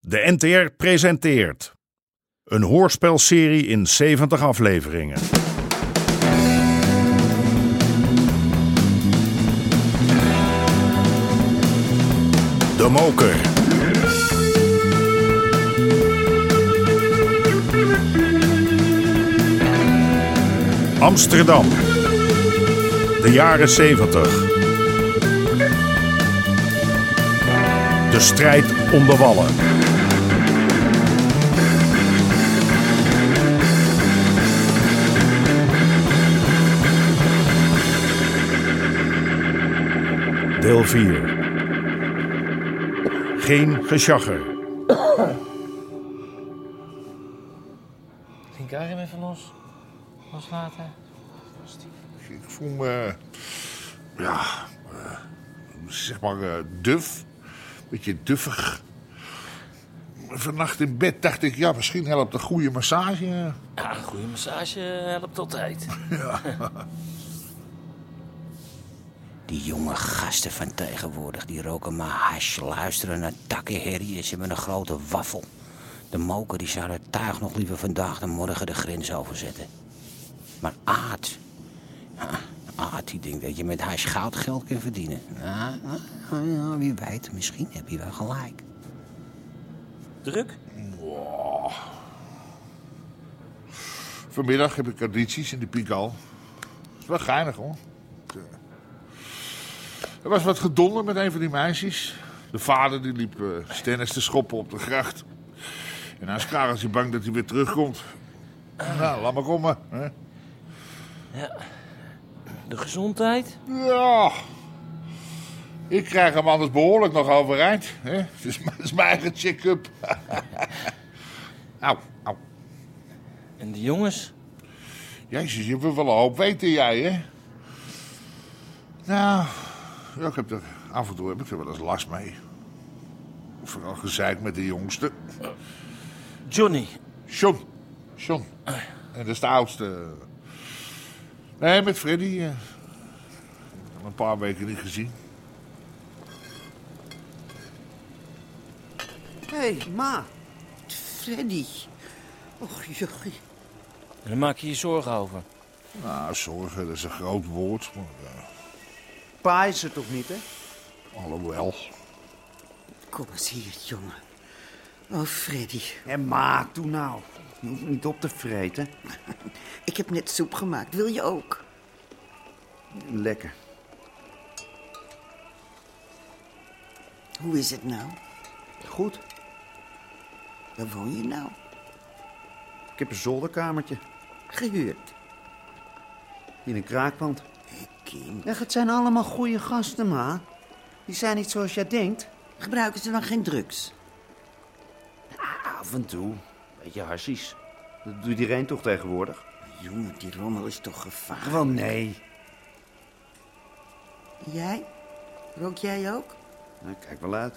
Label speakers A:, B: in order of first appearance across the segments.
A: De NTR presenteert een hoorspelserie in 70 afleveringen. De Moker. Amsterdam. De jaren 70. De strijd om de wallen. Deel 4. Geen gesjagger.
B: Ging Karin weer van ons loslaten?
C: Ik voel me, ja, eh, zeg maar eh, duf. Een beetje duffig. Vannacht in bed dacht ik, ja, misschien helpt een goede massage. eh.
B: Ja, een goede massage helpt altijd.
D: Die jonge gasten van tegenwoordig, die roken maar hash, luisteren naar takkenherrie en ze hebben een grote waffel. De moker die zou het tuig nog liever vandaag dan morgen de grens overzetten. Maar Aad, ja, Aad die denkt dat je met hash goud geld kan verdienen. Nou, Ja, ja, ja, wie weet, misschien heb je wel gelijk.
B: Druk?
C: Vanmiddag heb ik audities in de Pikal. is wel geinig, hoor. Eh, Er was wat gedonder met een van die meisjes. De vader die liep eh, stennis te schoppen op de gracht. En hij is klaar als hij bang dat hij weer terugkomt. Nou, laat maar komen. Hè?
B: De gezondheid?
C: Ja. Ik krijg hem anders behoorlijk nog overeind. Hè? Het, is, het is mijn eigen check-up. Au, au.
B: En de jongens?
C: Jezus, je wil wel een hoop weten, jij, hè? Nou, ja, ik heb er, af en toe heb ik er wel eens last mee. Vooral gezeik met de jongste.
B: Johnny.
C: John. John. En dat is de oudste. Nee, met Freddy. eh, Ik heb hem een paar weken niet gezien.
E: Hé, hey, ma. Freddy. Och, jochie.
B: En daar maak je je zorgen over.
C: Nou, zorgen, dat is een groot woord. Maar, eh,
E: Pa is er toch niet, hè?
C: alhoewel.
E: Kom eens hier, jongen. Oh, Freddy. Hé, ma, doe nou. Je hoeft niet op te vreten. Ik heb net soep gemaakt. Wil je ook? Lekker. Hoe is het nou? Goed. Waar woon je nou?
F: Ik heb een zolderkamertje
E: Gehuurd.
F: in een kraakpand.
E: Kind.
F: Echt, het zijn allemaal goede gasten, ma. Die zijn niet zoals jij denkt.
E: Gebruiken ze dan geen drugs?
F: Af en toe. Beetje harsies. Dat doet iedereen toch tegenwoordig?
E: Jongen, die rommel is toch gevaarlijk.
F: Gewoon nee.
E: Jij? Rook jij ook?
F: Nou, kijk wel uit.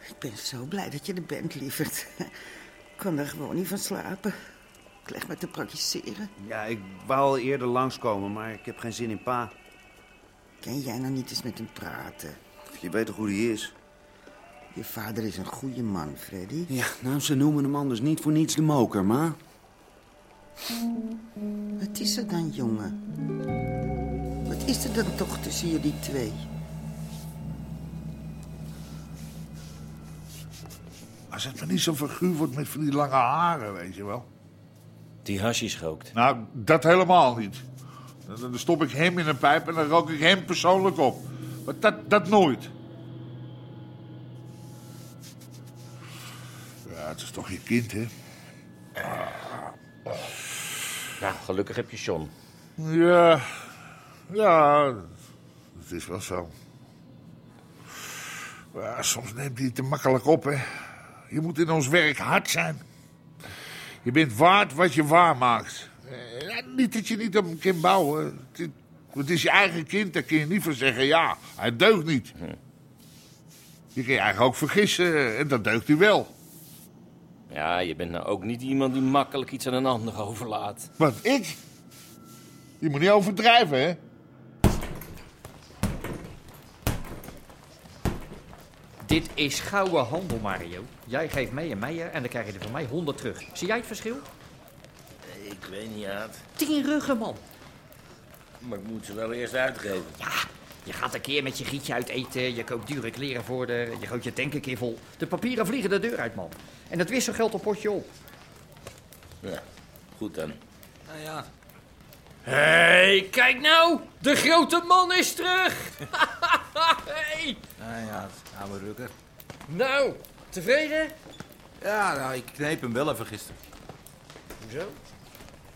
E: Ik ben zo blij dat je er bent, lieverd. Ik kan er gewoon niet van slapen. Ik leg me te praktiseren.
F: Ja, ik wou al eerder langskomen, maar ik heb geen zin in pa.
E: Kan jij nou niet eens met hem praten?
F: Je weet toch hoe die is?
E: Je vader is een goede man, Freddy.
F: Ja, nou, ze noemen hem anders niet voor niets de moker, ma.
E: Wat is er dan, jongen? Wat is er dan toch tussen jullie twee?
C: Als het maar niet zo'n figuur wordt met van die lange haren, weet je wel.
B: Die hasjes rookt.
C: Nou, dat helemaal niet. Dan dan stop ik hem in een pijp en dan rook ik hem persoonlijk op. Maar dat, dat nooit. Ja, het is toch je kind, hè?
B: Nou, gelukkig heb je John.
C: Ja, ja, het is wel zo. Maar soms neemt hij het te makkelijk op, hè. Je moet in ons werk hard zijn. Je bent waard wat je waarmaakt. Eh, ja, niet dat je niet op hem kan bouwen. Het is, het is je eigen kind, daar kun je niet van zeggen, ja, hij deugt niet. Je kan je eigenlijk ook vergissen, en dat deugt hij wel.
B: Ja, je bent nou ook niet iemand die makkelijk iets aan een ander overlaat.
C: Wat, ik? Je moet niet overdrijven, hè?
G: Dit is gouden handel, Mario. Jij geeft mij een meier en dan krijg je er van mij 100 terug. Zie jij het verschil?
H: Ik weet niet, Aad.
G: 10 ruggen, man.
H: Maar ik moet ze wel eerst uitgeven.
G: Je gaat een keer met je gietje uit eten, je koopt dure kleren voor de, je gooit je tank een keer vol. De papieren vliegen de deur uit, man. En dat wisselgeld op potje op.
H: Ja, goed dan.
B: Nou ja. Hé, hey, kijk nou! De grote man is terug! hey.
I: Nou ja, oude rukker.
B: Nou, tevreden?
I: Ja, nou, ik kneep hem wel even gisteren.
B: Hoezo?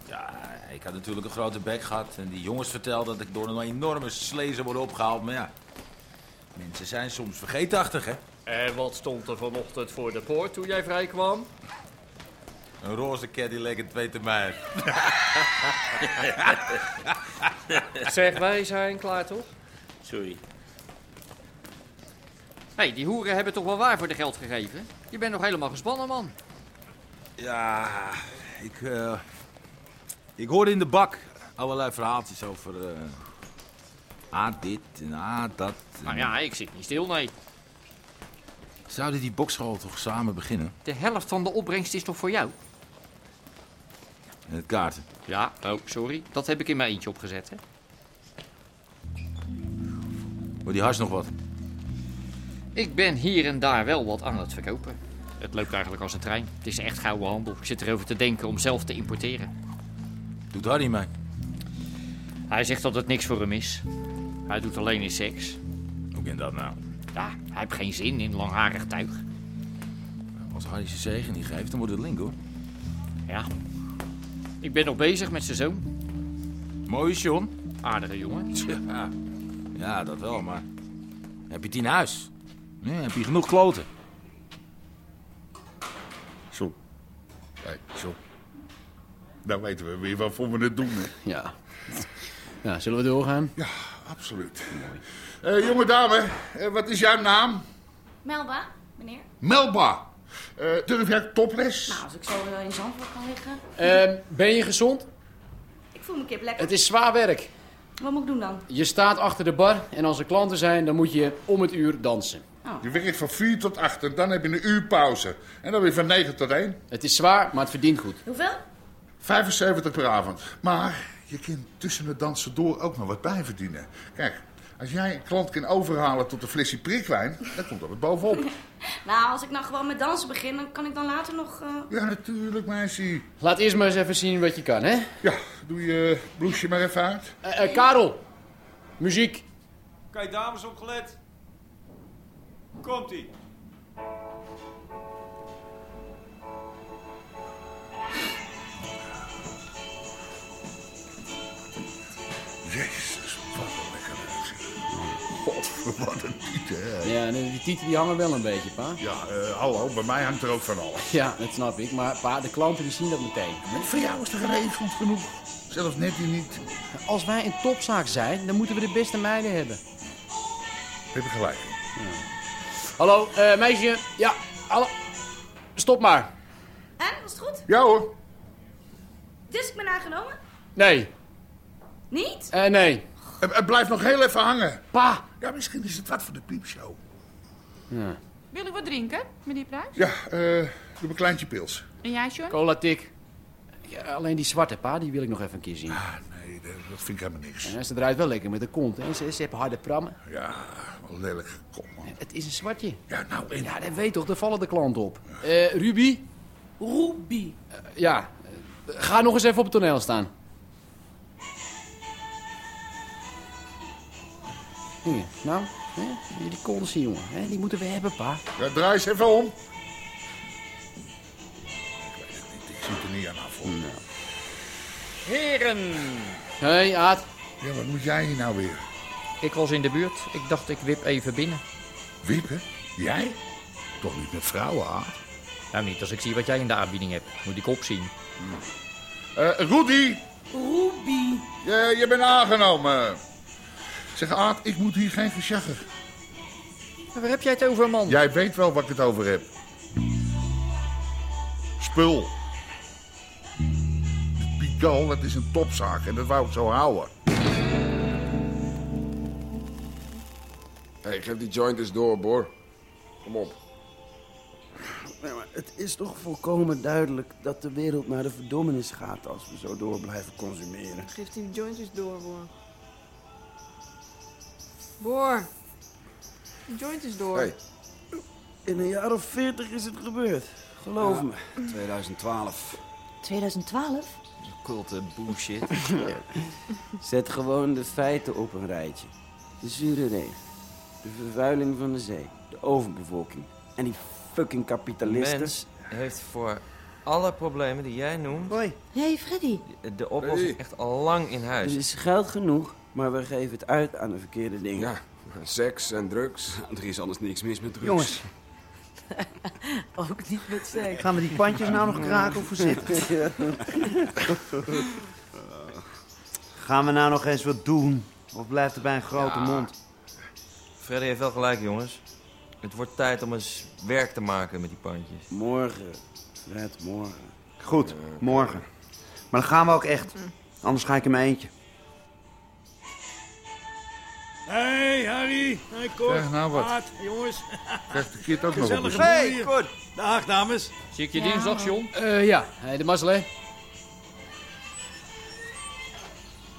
I: Ja, ik had natuurlijk een grote bek gehad. En die jongens vertelden dat ik door een enorme slee zou worden opgehaald. Maar ja, mensen zijn soms vergeetachtig, hè?
B: En Eh, wat stond er vanochtend voor de poort toen jij vrijkwam?
I: Een roze Cadillac en twee termijn.
B: Zeg, wij zijn klaar toch?
H: Sorry.
G: Hé, hey, die hoeren hebben toch wel waar voor de geld gegeven? Je bent nog helemaal gespannen, man.
I: Ja, ik, eh, ik hoorde in de bak allerlei verhaaltjes over... eh ah, dit en ah, dat.
G: Nou ja, ik zit niet stil, nee.
I: Zouden die bokschool toch samen beginnen?
G: De helft van de opbrengst is toch voor jou?
I: En het kaarten.
G: Ja, oh, sorry. Dat heb ik in mijn eentje opgezet, hè.
I: Wordt die hars nog wat?
G: Ik ben hier en daar wel wat aan het verkopen. Het loopt eigenlijk als een trein. Het is echt gouden handel. Ik zit erover te denken om zelf te importeren.
I: Doet Harry mee?
G: Hij zegt dat het niks voor hem is. Hij doet alleen in seks.
I: Hoe kan dat nou?
G: Ja, hij heeft geen zin in langharig tuig.
I: Als Harry zijn zegen niet geeft, dan wordt het link, hoor.
G: Ja. Ik ben nog bezig met zijn zoon.
I: Mooi, John.
G: Aardige jongen.
I: Ja, ja, dat wel, maar... Heb je tien huis? Ja, heb je genoeg kloten?
C: John. Hey, John. Nou weten we weer waarvoor we het doen. hè.
J: Ja. ja. Zullen we doorgaan?
C: Ja, absoluut. Eh, jonge dame, eh, wat is jouw naam?
K: Melba, meneer?
C: Melba. Eh, durf jij toples?
K: Nou, als ik zo eh, in Zandvoort kan liggen.
J: Ehm, ben je gezond?
K: Ik voel mijn kip lekker.
J: Het is zwaar werk.
K: Wat moet ik doen dan?
J: Je staat achter de bar en als er klanten zijn, dan moet je om het uur dansen.
K: Oh.
C: Je werkt van 4 tot 8 en dan heb je een uur pauze. En dan weer van 9 tot 1.
J: Het is zwaar, maar het verdient goed.
K: Hoeveel?
C: 75 per avond. Maar je kunt tussen het dansen door ook nog wat bijverdienen. Kijk, als jij een klant kan overhalen tot een flesje prikwijn, dan komt dat wat bovenop.
K: Nou, als ik nou gewoon met dansen begin, dan kan ik dan later nog... eh,
C: Ja, natuurlijk, meisje.
J: Laat eerst maar eens even zien wat je kan, hè?
C: Ja, doe je eh, bloesje maar even uit.
J: Eh, eh, Karel, muziek.
L: Kijk, dames, opgelet. Komt-ie.
C: Jezus, wat een lekker uitzicht. Godver, wat een tieten, hè?
J: Ja, nee, die tieten die hangen wel een beetje, pa.
C: Ja, eh, hallo, bij mij hangt er ook van alles.
J: Ja, dat snap ik, maar pa, de klanten die zien dat meteen.
C: Voor jou is er geregeld genoeg. Zelfs net die niet.
J: Als wij een topzaak zijn, dan moeten we de beste meiden hebben.
C: Heb je gelijk.
J: Hallo, eh, meisje. Ja, hallo. Stop maar.
K: En, was het goed?
C: Ja hoor.
K: Dus ik ben aangenomen?
J: Nee,
K: Niet?
J: eh, nee.
C: Het, het blijft nog heel even hangen.
J: Pa.
C: Ja, misschien is het wat voor de piepshow.
J: Ja.
M: Wil ik wat drinken, meneer Pruis?
C: Ja, eh, doe maar een kleintje pils.
M: En jij, John?
J: Cola tik. Ja, alleen die zwarte pa, die wil ik nog even een keer zien.
C: Ah. Nee, dat dat vind ik helemaal niks.
J: En ze draait wel lekker met de kont. Hè? Ze, ze hebben harde prammen.
C: Ja, wel lelijk gekomen. man.
J: Het is een zwartje.
C: Ja, nou, en...
J: Ja, dat weet toch, daar vallen de klanten op. Eh, Ruby? Ruby. ja, eh, ga nog eens even op het toneel staan. Hier, nou, hè? die kont zien, jongen. Hè? Die moeten we hebben, pa.
C: Ja, draai eens even om. Ik weet het niet, ik zie het er niet aan af. hoor.
G: Heren!
J: Hé, hey, Aad.
C: Ja, wat moet jij hier nou weer?
G: Ik was in de buurt. Ik dacht, ik wip even binnen.
C: Wiepen? Jij? Toch niet met vrouwen, aan?
G: Nou, niet als ik zie wat jij in de aanbieding hebt. Moet ik opzien.
C: Eh, Rudy,
K: Ruby.
C: je, je bent aangenomen. Zeg, Aad, ik moet hier geen gezegger.
G: Waar heb jij het over, man?
C: Jij weet wel wat ik het over heb. Spul. Pigal, dat is een topzaak en dat wou ik zo houden.
N: Hé, hey, geef die joint eens door, Boor.
G: Kom op.
O: Nee, maar het is toch volkomen duidelijk dat de wereld naar de verdommenis gaat als we zo door blijven consumeren.
P: Geef die joint eens door, Boor. Boor. Die joint is door.
O: Hey. In een jaar of veertig is het gebeurd. Geloof
G: Ja,
O: me. 2012.
P: 2012?
O: Culte bullshit. Zet gewoon de feiten op een rijtje. De zure regen. De vervuiling van de zee. De overbevolking. En die fucking kapitalisten.
G: Mens heeft voor alle problemen die jij noemt...
P: Hey, Freddy.
G: De oplossing
O: Hey.
G: echt al lang in huis.
O: Er is geld genoeg, maar we geven het uit aan de verkeerde dingen.
G: Ja,
O: seks en drugs. Er is anders niks mis met drugs.
Q: Jongens.
P: Ook niet met seks.
Q: Gaan we die pandjes nou nog kraken of voorzichtig?
F: Gaan we nou nog eens wat doen? Of blijft er bij een grote
G: Ja.
F: mond?
G: Freddy heeft wel gelijk, jongens. Het wordt tijd om eens werk te maken met die pandjes.
O: Morgen. Fred, morgen.
F: Goed, morgen. Maar dan gaan we ook
Q: Hm.
F: echt. Anders ga ik in mijn eentje.
E: Hey Harry, hey Cor,
F: Zeg nou wat.
E: Aad, jongens.
C: Krijgt de kid ook nog
E: Gezellige
C: op de
E: boel
R: Hey,
E: hier. Dag dames.
S: Zie ik
R: je Ja. dinsdag,
S: John?
R: Eh, ja, hey, de mazzel, hè?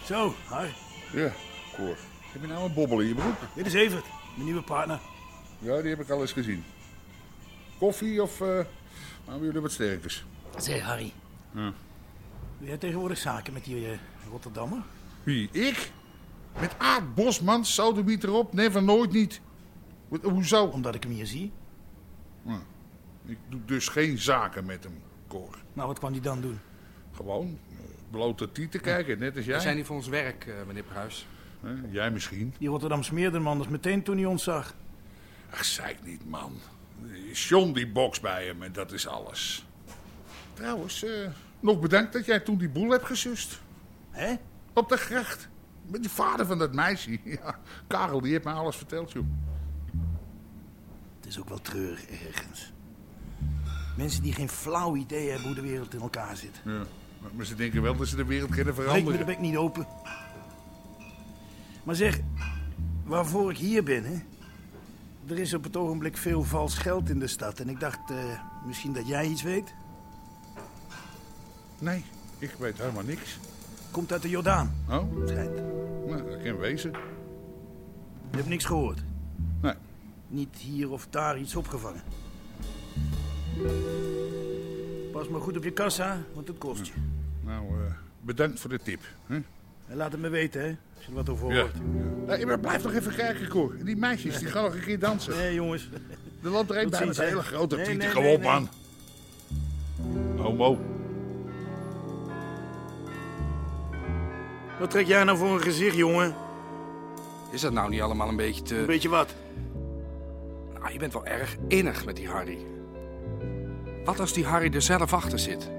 E: Zo, hi.
C: Ja, Cor. Heb je nou een bobbel in je broek?
E: Dit is Evert, mijn nieuwe partner.
C: Ja, die heb ik al eens gezien. Koffie of eh nou, jullie wat sterkers?
E: Zeg, Harry.
C: Hm.
E: Wil jij tegenwoordig zaken met die eh, Rotterdammer?
C: Wie, ik? Met Aad Bosman, Soudemiet erop, never nooit niet. Wat, hoezo?
E: Omdat ik hem hier zie.
C: Ik doe dus geen zaken met hem, Cor.
E: Nou, wat kwam die dan doen?
C: Gewoon, eh, blote tieten kijken, net als jij.
I: We zijn hier voor ons werk, eh, meneer Pruis.
C: Hè, jij misschien.
E: Die Rotterdam smeerderman is meteen toen hij ons zag.
C: Ach, zei ik niet, man. John die box bij hem en dat is alles. Trouwens, eh, nog bedankt dat jij toen die boel hebt gesust.
E: Hè?
C: Op de gracht. Met die vader van dat meisje. Ja, Karel, die heeft mij alles verteld, joh.
E: Het is ook wel treurig ergens. Mensen die geen flauw idee hebben hoe de wereld in elkaar zit.
C: Ja. Maar, maar ze denken wel dat ze de wereld kunnen
E: Breek me de
C: veranderen.
E: bek niet open. Maar zeg, waarvoor ik hier ben, hè? Er is op het ogenblik veel vals geld in de stad. En ik dacht, eh, misschien dat jij iets weet.
C: Nee, ik weet helemaal niks.
E: Komt uit de Jordaan.
C: Oh?
E: Schijnt.
C: Nou, dat kan wezen.
E: Je hebt niks gehoord?
C: Nee.
E: Niet hier of daar iets opgevangen? Pas maar goed op je kassa, want het kost je.
C: Nou, eh, bedankt voor de tip. Hè?
E: En laat het me weten, hè, als je er wat over
C: Ja.
E: hoort.
C: Nee, maar blijf nog even kijken, Cor. Die meisjes, die gaan nog een keer dansen.
E: Nee, jongens.
C: Er loopt er een
E: Tot
C: bij met
E: ziens,
C: een
E: hè.
C: hele grote
E: Nee,
C: tieten.
E: nee,
C: Kom
E: nee,
C: op,
E: nee.
C: man. Homo.
E: Wat trek jij nou voor een gezicht, jongen?
I: Is dat nou niet allemaal een beetje te...
E: Een beetje wat?
I: Nou, je bent wel erg innig met die Harry. Wat als die Harry er zelf achter zit?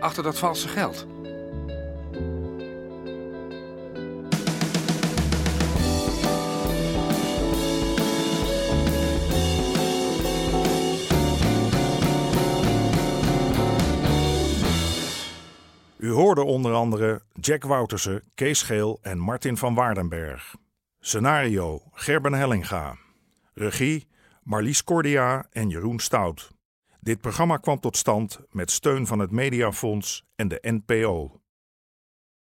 I: Achter dat valse geld?
A: U hoorde onder andere Jack Woutersen, Kees Geel en Martin van Waardenberg. Scenario Gerben Hellinga. Regie Marlies Cordia en Jeroen Stout. Dit programma kwam tot stand met steun van het Mediafonds en de NPO.